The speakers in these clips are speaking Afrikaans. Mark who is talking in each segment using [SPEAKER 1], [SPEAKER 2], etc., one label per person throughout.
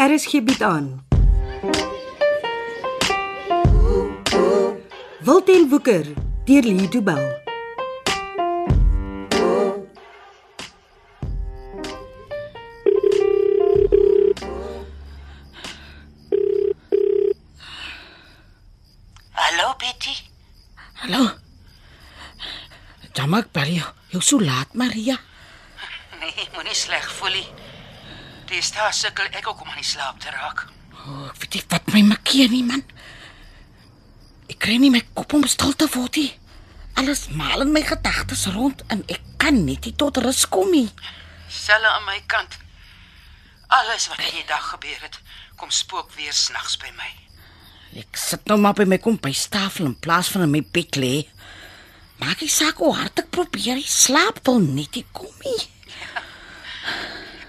[SPEAKER 1] RSG bied Er aan. Wilten Woeker deur Lee Du Bell.
[SPEAKER 2] Hallo Betty.
[SPEAKER 3] Hallo. Jamak bel jou. Jou so laat, Maria.
[SPEAKER 2] Nee, moenie sleg voel nie. Dis daar sukkel ek ook om aan die slaap te raak.
[SPEAKER 3] O, ek weet nie wat my makkeer nie, man. Ek kry nie my kop om stil te word nie. Alles maal in my gedagtes rond en ek kan net nie tot rus kom nie.
[SPEAKER 2] Selle aan my kant. Alles wat in die dag gebeur het, kom spook weer snags by my.
[SPEAKER 3] Ek sit nou maar by my kombuistafel in plaas van in my bed lê. Maak nie saak hoe hard ek probeer, die slaap wil net nie kom nie.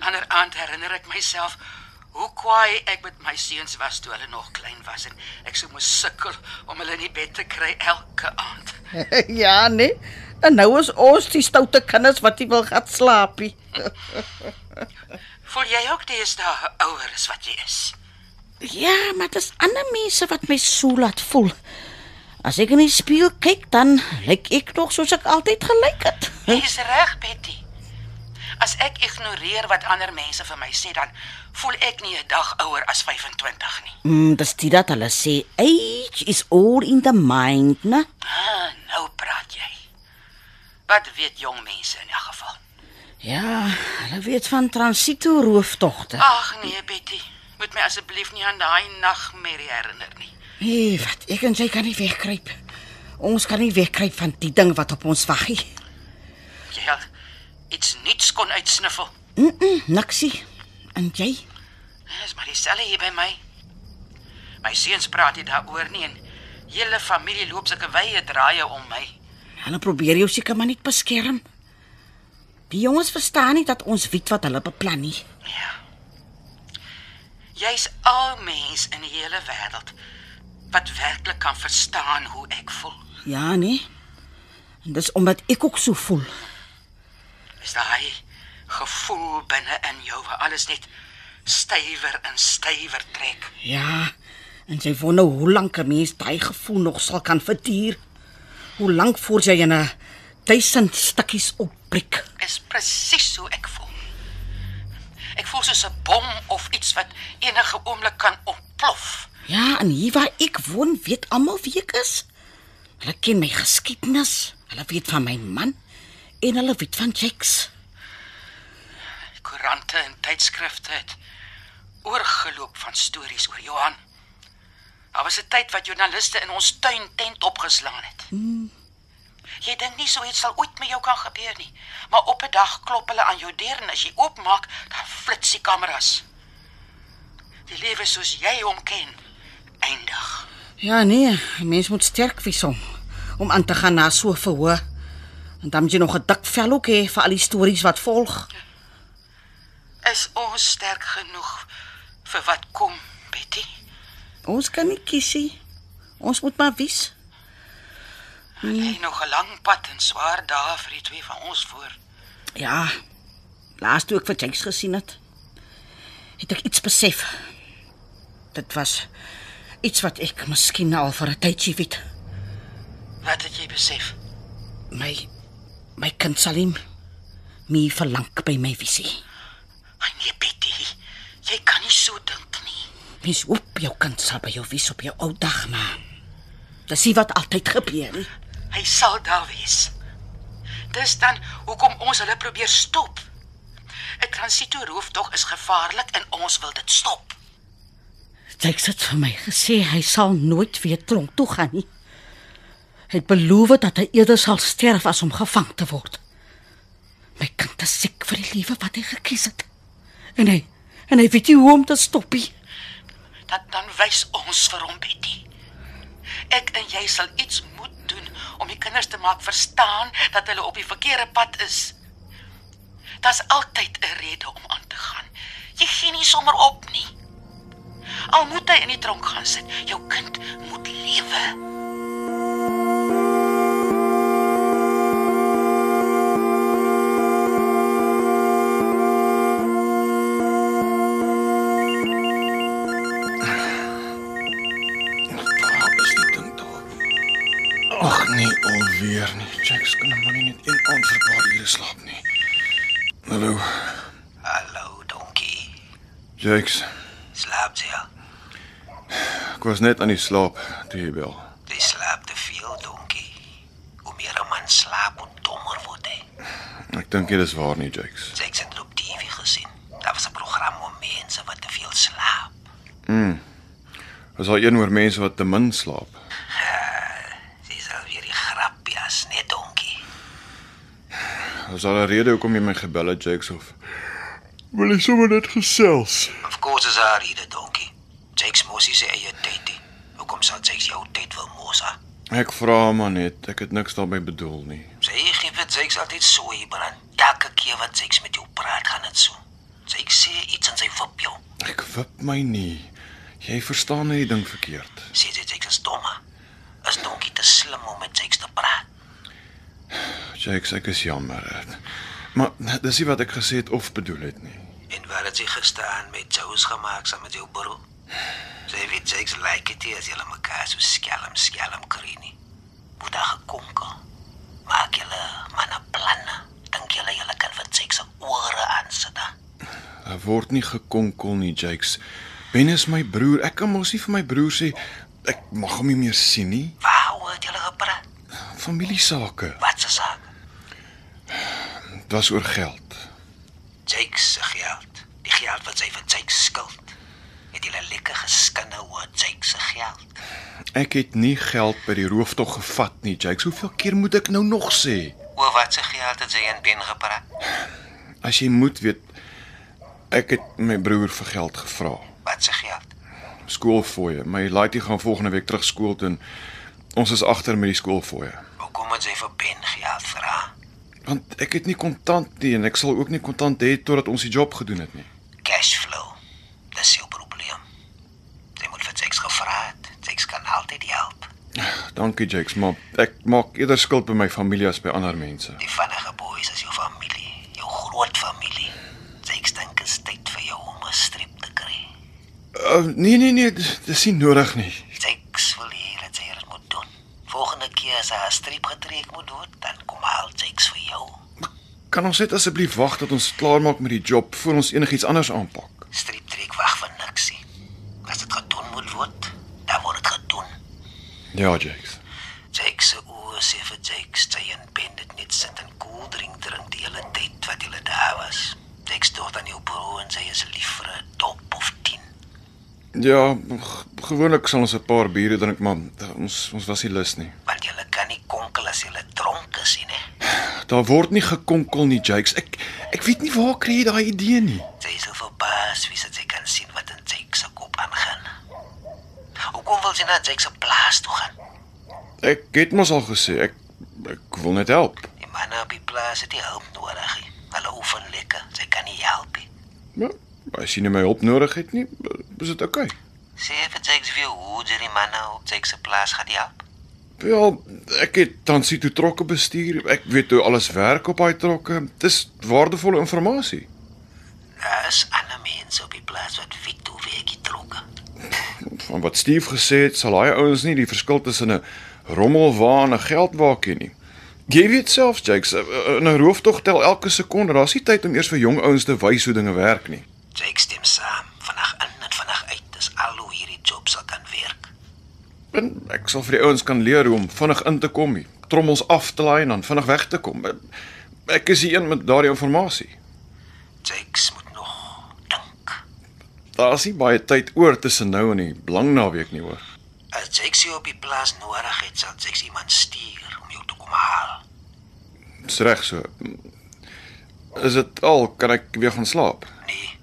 [SPEAKER 2] Ander aand herinner ek myself hoe kwaai ek met my seuns was toe hulle nog klein was en ek sou moes sukkel om hulle in die bed te kry elke aand.
[SPEAKER 3] ja, nee. En nou is ons die stoute kinders wat nie wil gaan slaapie.
[SPEAKER 2] Voel jy ook deesdae ouer as wat jy is?
[SPEAKER 3] Ja, maar dis ander mense wat my so laat voel. As ek in die spieël kyk, dan lyk ek nog soos ek altyd gelyk het.
[SPEAKER 2] Jy's reg, Betty. As ek ignoreer wat ander mense vir my sê, dan voel ek nie 'n dag ouer as 25 nie.
[SPEAKER 3] Mm, dis dit dat hulle sê age is all in the mind, né?
[SPEAKER 2] Ah, nou praat jy. Wat weet jong mense in 'n geval?
[SPEAKER 3] Ja, hulle weet van transito rooftogte.
[SPEAKER 2] Ag nee, Betty. Moet my asseblief nie aan daai nagmerrie herinner nie.
[SPEAKER 3] Nee, wat ek en sy kan nie wegkruip. Ons kan nie wegkruip van die ding wat op ons wag nie.
[SPEAKER 2] Jy het iets niets kon uitsniffel.
[SPEAKER 3] Mm -mm, Niksie. En jy?
[SPEAKER 2] Dis maar dieselfde hier by my. My seuns praat nie daaroor nie en hele familie loop sulke wye draaie om my.
[SPEAKER 3] Hulle probeer jou seker maar net beskerm. Die jongens verstaan nie dat ons weet wat hulle beplan nie.
[SPEAKER 2] Ja. Jy's al mens in die hele wêreld wat werklik kan verstaan hoe ek voel.
[SPEAKER 3] Ja, nee. En dis omdat ek ook so voel.
[SPEAKER 2] Is daai gevoel binne in jou waar alles net stywer en stywer trek.
[SPEAKER 3] Ja. En jy wonder hoe lank 'n mens daai gevoel nog sal kan verduur. Hoe lank voor jy in 'n duisend stukkies opbreek.
[SPEAKER 2] Is presies hoe ek voel. Ek voel soos 'n bom of iets wat enige oomblik kan ontplof.
[SPEAKER 3] Ja, en hier waar ek woon, weet almal wie ek is. Hulle ken my geskiedenis. Hulle weet van my man en hulle weet van Jakes.
[SPEAKER 2] Koerante en tydskrifte het oorgeloop van stories oor Johan. Daar was 'n tyd wat joernaliste in ons tuin tent opgeslaan het. Jy dink nie so iets sal ooit met jou kan gebeur nie, maar op 'n dag klop hulle aan jou deur en as jy oopmaak, dan flits die kameras. Die lewe soos jy hom ken, eindig.
[SPEAKER 3] Ja, nee, 'n mens moet sterk wees om om aan te gaan na so 'n verhoor. En dan moet jy nog 'n dik vel ook hê vir al die stories wat volg.
[SPEAKER 2] Is ons sterk genoeg vir wat kom, Betty?
[SPEAKER 3] Ons kan nie kiesie. Ons moet maar wies.
[SPEAKER 2] Lê nog 'n lang pad en swaar dae vir die twee van ons voor.
[SPEAKER 3] Ja. Laas toe ek vir Jakes gesien het, het ek iets besef. Dit was iets wat ek miskien al vir 'n tydjie weet.
[SPEAKER 2] Wat het jy besef?
[SPEAKER 3] My my kind Salim my verlang by my visie.
[SPEAKER 2] Ai nee, Betty. Jy kan nie so dink nie.
[SPEAKER 3] Mens hoop jou kind sal by jou wees op jou ou dag, maar dis nie wat altyd gebeur nie.
[SPEAKER 2] Hy sal daar wees. Dis dan hoekom ons hulle probeer stop. 'n Transito rooftog is gevaarlik en ons wil dit stop.
[SPEAKER 3] Jakes het vir my gesê hy sal nooit weer tronk toe gaan nie. Hy het beloof dat hy eerder sal sterf as om gevang te word. My kind is siek vir die lewe wat hy gekies het. En hy en hy weet nie hoe om te stop nie.
[SPEAKER 2] Dat dan wys ons vir hom, Betty. Ek en jy sal iets moet doen om die kinders te maak verstaan dat hulle op die verkeerde pad is. Daar's altyd 'n rede om aan te gaan. Jy gee nie sommer op nie. Al moet hy in die tronk gaan sit, jou kind moet lewe.
[SPEAKER 4] Jacks kan 'n man nie net een aand vir 'n paar ure slaap nie. Hallo,
[SPEAKER 2] Hallo, donkie.
[SPEAKER 4] Jacks.
[SPEAKER 2] Slaap jy?
[SPEAKER 4] Ek was net aan die slaap toe jy bel.
[SPEAKER 2] Jy slaap te veel, donkie. Hoe meer 'n man slaap, hoe dommer word hy.
[SPEAKER 4] Ek dink jy dis waar nie, Jacks.
[SPEAKER 2] Ek het dit op TV gesien. Daar was 'n program oor mense wat te veel slaap.
[SPEAKER 4] Was daar een oor mense wat te min slaap?
[SPEAKER 2] Dis alweer die grappie as net donkie.
[SPEAKER 4] Was daar 'n rede hoekom jy my gebel het, Jacks of wil jy sommer net gesels?
[SPEAKER 2] Of course is haar hier, donkie. Jakes mos is sy eie tyd. hê. Hoekom sal Jakes jou tyd wil mors? hè?
[SPEAKER 4] Ek vra maar net, ek het niks daarmee bedoel nie.
[SPEAKER 2] Sy gee vir Jakes altyd so hier brand. Elke keer wat Jakes met jou praat, gaan dit so. Jakes sê iets en sy wip jou.
[SPEAKER 4] Ek wip my nie. Jy verstaan net die ding verkeerd.
[SPEAKER 2] Sê dit Jakes is dom. hè? Is donkie te slim om met Jakes te praat?
[SPEAKER 4] Jakes, ek is jammer. Maar dis nie wat ek gesê het of bedoel het nie.
[SPEAKER 2] En wat het jy gestaan met Jakes gemaak saam met jou broer? Sy weet Jakes like dit nie as julle mekaar so skelm skelm kry nie. Moet daar gekonkel. Maak julle manne planne. Dink julle julle kan vir Jakes se ore aansit? hè?
[SPEAKER 4] Daar word nie gekonkel nie, Jakes. Ben is my broer. Ek kan mos nie vir my broer sê ek mag hom nie meer sien nie.
[SPEAKER 2] Waar word julle gepraat?
[SPEAKER 4] Familiesake.
[SPEAKER 2] Wat se saak?
[SPEAKER 4] Dit was oor geld.
[SPEAKER 2] Jake se geld. Die geld wat sy vir Jake skuld. Het julle lekker geskinde oor Jake se geld.
[SPEAKER 4] Ek het nie geld by die rooftog gevat nie, Jakes. Hoeveel keer moet ek nou nog sê?
[SPEAKER 2] Oor wat se geld het sy en Ben gepraat?
[SPEAKER 4] As jy moet weet, ek het my broer vir geld gevra.
[SPEAKER 2] Wat se geld?
[SPEAKER 4] Skoolfooie. My laaitie gaan volgende week terug skool toe en ons is agter met die skoolfooie.
[SPEAKER 2] Hoekom het sy vir Ben geld vra?
[SPEAKER 4] Want ek het nie kontant nie en ek sal ook nie kontant hê totdat ons die job gedoen het nie.
[SPEAKER 2] Cash flow. Dis jou probleem. Jy moet vir Jake gevra het. Jake kan altyd help.
[SPEAKER 4] Dankie Jakes, maar ek maak eerder skuld by my familie as by ander mense.
[SPEAKER 2] Die vinnige boeis is jou familie, jou groot familie. Jake dink dit is tyd vir jou om 'n streep te kry.
[SPEAKER 4] Uh, nee nee nee, dis dis nie nodig nie.
[SPEAKER 2] Jakes wil hê dat jy dit moet doen. Volgende keer as hy 'n streep getrek moet word, dan kom haal Jakes vir jou.
[SPEAKER 4] Kan ons net asseblief wag tot ons klaar maak met die job voor ons enigiets anders aanpak?
[SPEAKER 2] Streep trek wag vir niks nie. As dit gedoen moet word, dan word dit gedoen.
[SPEAKER 4] Ja, Jakes.
[SPEAKER 2] Jakes se oë sê vir Jakes dat hy en Ben dit net sit en koeldrink drink die hele tyd wat hulle daar was. Jakes dort aan jou broer en sy is lief vir 'n dop of 10.
[SPEAKER 4] Ja, g- gewoonlik sal ons 'n paar biere drink, maar ons ons was nie lus nie.
[SPEAKER 2] Want jy kan nie konkel as jy dronk is nie. né?
[SPEAKER 4] Daar word nie gekonkel nie, Jakes. Ek ek weet nie waar kry jy daai idee nie.
[SPEAKER 2] Sy is al verbaas wie sy kan sien wat in Jake se kop aangaan. Hoekom wil sy na Jake se plaas toe gaan?
[SPEAKER 4] Ek het mos al gesê ek ek wil net help.
[SPEAKER 2] Die manne op die plaas het nie hulp nodig nie. Hulle oefen lekker. Sy kan nie help nie.
[SPEAKER 4] Ja, as jy nie my hulp nodig het nie, is dit oukei. Okay.
[SPEAKER 2] Sê vir Jake se vir hoe jy die manne op Jake se plaas gaan help.
[SPEAKER 4] Ja, ek het tans toe trokke bestuur. Ek weet hoe alles werk op daai trokke. Dis waardevolle inligting.
[SPEAKER 2] Daar's ander mense op die plaas wat weet hoe werk die trokke.
[SPEAKER 4] Van wat Steve gesê het, sal daai ouens nie die verskil tussen 'n rommelwa en 'n geldwa ken nie. Jy weet self, Jakes, eh, 'n 'n rooftog tel elke sekonde. Daar's nie tyd om eers vir jong ouens te wys hoe dinge werk nie.
[SPEAKER 2] Jake stem saam, vandag in en vandag uit. Dis al hoe hierdie job sal kan werk.
[SPEAKER 4] En ek sal vir die ouens kan leer hoe om vinnig in te kom, die trommels af te laai en dan vinnig weg te kom. Ek is die een met daardie inligting.
[SPEAKER 2] Jake moet nog dink.
[SPEAKER 4] Daar's nie baie tyd oor tussen nou en die lang naweek nie hoor.
[SPEAKER 2] As Jake sy op die plaas nodig het, sal Jake iemand stuur om jou toe kom haal.
[SPEAKER 4] Dis reg so. Is dit al kan ek weer gaan slaap?
[SPEAKER 2] Nee.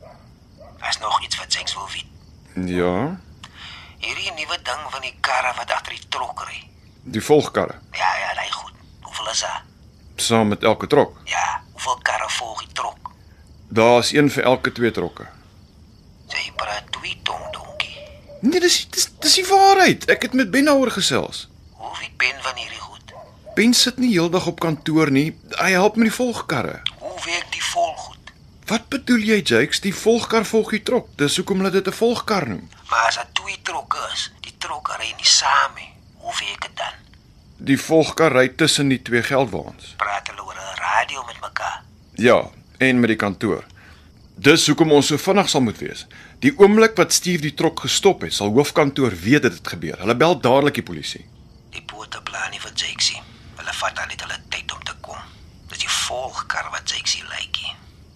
[SPEAKER 2] Was nog iets wat Jake wil weet.
[SPEAKER 4] Ja,
[SPEAKER 2] Hierdie nuwe ding van die karre wat agter die trok ry.
[SPEAKER 4] die volgkarre
[SPEAKER 2] Ja, ja, daai goed. Hoeveel is daar?
[SPEAKER 4] saam met elke trok.
[SPEAKER 2] Ja, hoeveel karre volg die trok?
[SPEAKER 4] Daar's een vir elke twee trokke.
[SPEAKER 2] Sy praat twee tong donkie.
[SPEAKER 4] Nee, dis dis dis die waarheid. Ek het met Ben daaroor gesels.
[SPEAKER 2] Hoe wie ben van hierdie goed?
[SPEAKER 4] Ben sit nie heeldag op kantoor nie. Hy help met die volgkarre.
[SPEAKER 2] Hoe werk die volgoed?
[SPEAKER 4] Wat bedoel jy, Jakes? Die volgkar volg die trok. Dis hoekom hulle dit 'n volgkar noem.
[SPEAKER 2] Maar as daar twee trokke is, die trokke ry nie saam nie. Hoe werk dit dan?
[SPEAKER 4] die volgkar ry tussen die twee geldwaans.
[SPEAKER 2] Praat hulle oor 'n radio met mekaar.
[SPEAKER 4] Ja, en met die kantoor. Dis hoekom ons so vinnig sal moet wees. Die oomblik wat Steve die trok gestop het, sal hoofkantoor weet dat dit gebeur. Hulle bel dadelik die polisie.
[SPEAKER 2] Die bote plan nie vir Jaxie. Hulle vat aan net hulle tyd om te kom. Dis die volgkar wat Jaxie lykie.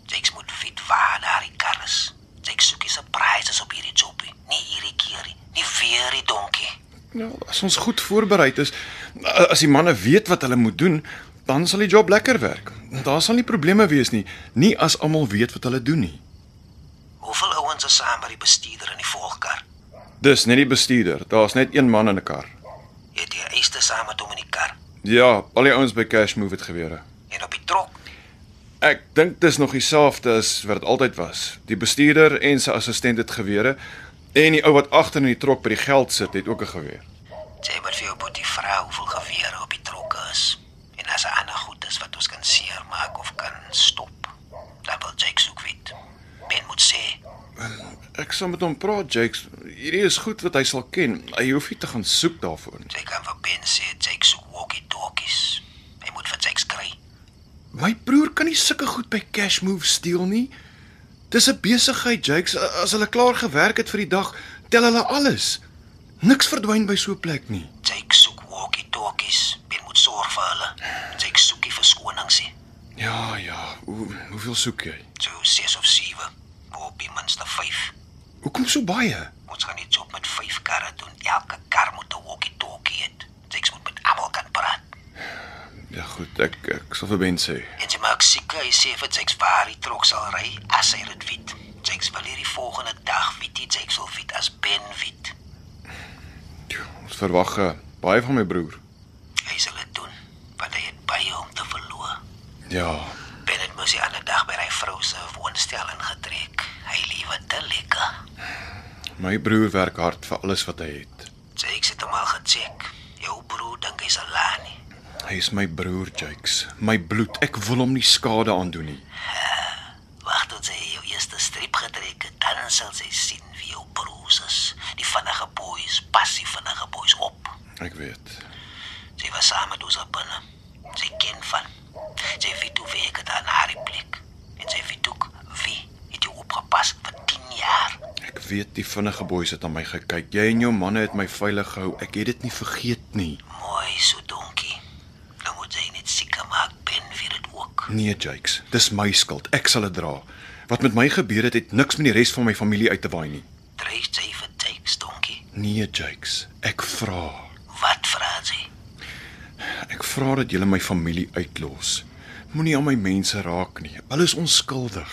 [SPEAKER 2] Jax moet weet waar daai kar is. Jax soek 'n surprise op hierdie jobie. Nie hierdie keer nie. Nie weer die donkie.
[SPEAKER 4] Ja, as ons goed voorberei is, as die manne weet wat hulle moet doen, dan sal die job lekker werk. Daar sal nie probleme wees nie, nie as almal weet wat hulle doen nie.
[SPEAKER 2] Hoeveel ouens is saam met die bestuurder in die volgkar?
[SPEAKER 4] Dis net die bestuurder. Daar's net een man in 'n kar.
[SPEAKER 2] Het jy eiste saam met hom in die kar
[SPEAKER 4] Ja, al die ouens by Cash Move het gewere.
[SPEAKER 2] en op die trok?
[SPEAKER 4] Ek dink dis nog dieselfde as wat dit altyd was. Die bestuurder en sy assistent het gewere en die ou wat agter in die trok by die geld sit het ook 'n geweer.
[SPEAKER 2] Sê maar vir jou boetie vrou hoeveel gewere op die trokke is en as 'n ander goed is wat ons kan seermaak of kan stop. Dan wil Jake soek weet. Ben moet sê,
[SPEAKER 4] Ek sal met hom praat, Jakes. Hierdie is goed wat hy sal ken. Hy hoef nie te gaan soek daarvoor nie.
[SPEAKER 2] jy kan vir Ben sê Jake soek walkie-talkies. Hy moet vir Jake kry.
[SPEAKER 4] My broer kan nie sulke goed by Cash Move steel nie. Dis 'n besigheid, Jakes. As hulle klaar gewerk het vir die dag, tel hulle alles. Niks verdwyn by so 'n plek nie.
[SPEAKER 2] Jake soek walkie-talkies. Ben moet sorg vir hulle. Jake soekie verskonings nie.
[SPEAKER 4] Ja, ja. Hoe, hoeveel soek jy?
[SPEAKER 2] So 6 of 7, op die minste 5.
[SPEAKER 4] Hoekom so baie?
[SPEAKER 2] Ons gaan nie job met 5 karre doen. Elke kar moet 'n walkie-talkie hê. Jy moet met almal kan praat.
[SPEAKER 4] Ja goed, ek ek sal vir Ben sê.
[SPEAKER 2] En jy maak seker hy sê vir Jacques waar die trok sal ry as hy dit weet. Jacques wil hierdie volgende dag weet dit Jacques sal weet as Ben weet.
[SPEAKER 4] Tjoe, Ons verwag eh, baie van my broer.
[SPEAKER 2] Hy sal dit doen want hy het baie om te verloor.
[SPEAKER 4] Ja.
[SPEAKER 2] Ben het mos die ander dag by hy vrou se woonstel ingetrek. Hy liewe te lekker.
[SPEAKER 4] My broer werk hard vir alles wat hy het.
[SPEAKER 2] Jacques het hom al gecheck. Jou broer dink hy's alleen nie.
[SPEAKER 4] Hy is my broer, Jakes. My bloed. Ek wil hom nie skade aandoen nie.
[SPEAKER 2] Wag tot sy jou eerste strip getrek het, dan sal sy sien wie jou broers is. Die vinnige boeis, passief vinnige boeis op.
[SPEAKER 4] Ek weet.
[SPEAKER 2] Sy was saam met ons op binne. Sy ken van. Sy weet hoe werk dit aan haar plek. En sy weet ook wie het jou opgepas vir 10 jaar.
[SPEAKER 4] Ek weet die vinnige boeis het aan my gekyk. Jy en jou manne het my veilig gehou. Ek het dit nie vergeet nie.
[SPEAKER 2] Mooi so donkie. Nou moet jy net seker maak Ben weet dit ook.
[SPEAKER 4] Nee, Jakes. Dis my skuld. Ek sal dit dra. Wat met my gebeur het, het niks met die res van my familie uit te waai nie.
[SPEAKER 2] Dreig sy vir teks donkie.
[SPEAKER 4] Nee, Jakes. Ek vra.
[SPEAKER 2] Wat vra sy?
[SPEAKER 4] Ek vra dat jy my familie uitlos. Moenie aan my mense raak nie. Hulle is onskuldig.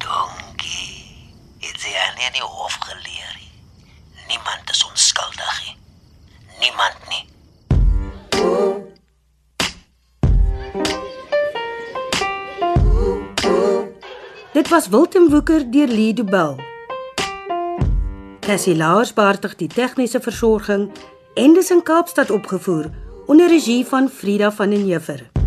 [SPEAKER 2] Donkie, het jy aan nie hof geleer nie. Niemand is onskuldig nie. Niemand nie.
[SPEAKER 1] Dit was Wilten Woeker deur Lee Du Bell. Cassie Lars beheer die tegniese versorging en dit is in Kaapstad opgevoer onder regie van Frida van den Heever.